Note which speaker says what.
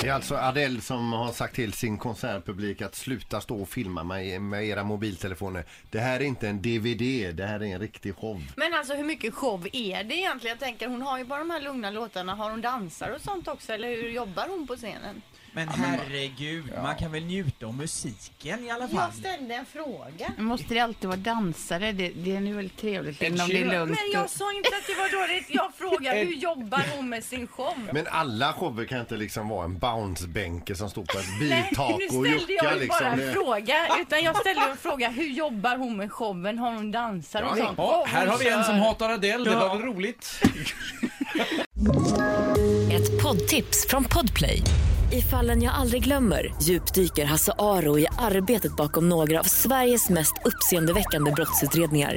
Speaker 1: Det är alltså Adele som har sagt till sin konsertpublik att sluta stå och filma med, med era mobiltelefoner. Det här är inte en DVD, det här är en riktig show.
Speaker 2: Men alltså hur mycket show är det egentligen? Jag tänker hon har ju bara de här lugna låtarna. Har hon dansar och sånt också eller hur jobbar hon på scenen?
Speaker 3: Men herregud, man kan väl njuta av musiken i alla fall?
Speaker 2: Jag ställde en fråga.
Speaker 4: Måste det alltid vara dansare? Det, det är nu väl trevligt
Speaker 5: Ed
Speaker 4: även om det är
Speaker 5: Sheeran.
Speaker 4: lugnt.
Speaker 2: Men jag sa inte att det var dåligt. Jag frågar hur jobbar hon med sin show?
Speaker 1: Men alla shower kan inte liksom vara en bouncebänke som står på ett
Speaker 2: Nej, nu
Speaker 1: biltak och
Speaker 2: ställde
Speaker 1: juckar
Speaker 2: jag ju bara
Speaker 1: liksom.
Speaker 2: en
Speaker 1: Det-
Speaker 2: fråga. Utan jag ställde ju en fråga, hur jobbar hon med showen? Har hon dansar och sånt?
Speaker 5: Ja, här har vi en som
Speaker 2: har...
Speaker 5: hatar Adele, det var väl roligt?
Speaker 6: Ett poddtips från Podplay. I fallen jag aldrig glömmer djupdyker Hasse Aro i arbetet bakom några av Sveriges mest uppseendeväckande brottsutredningar.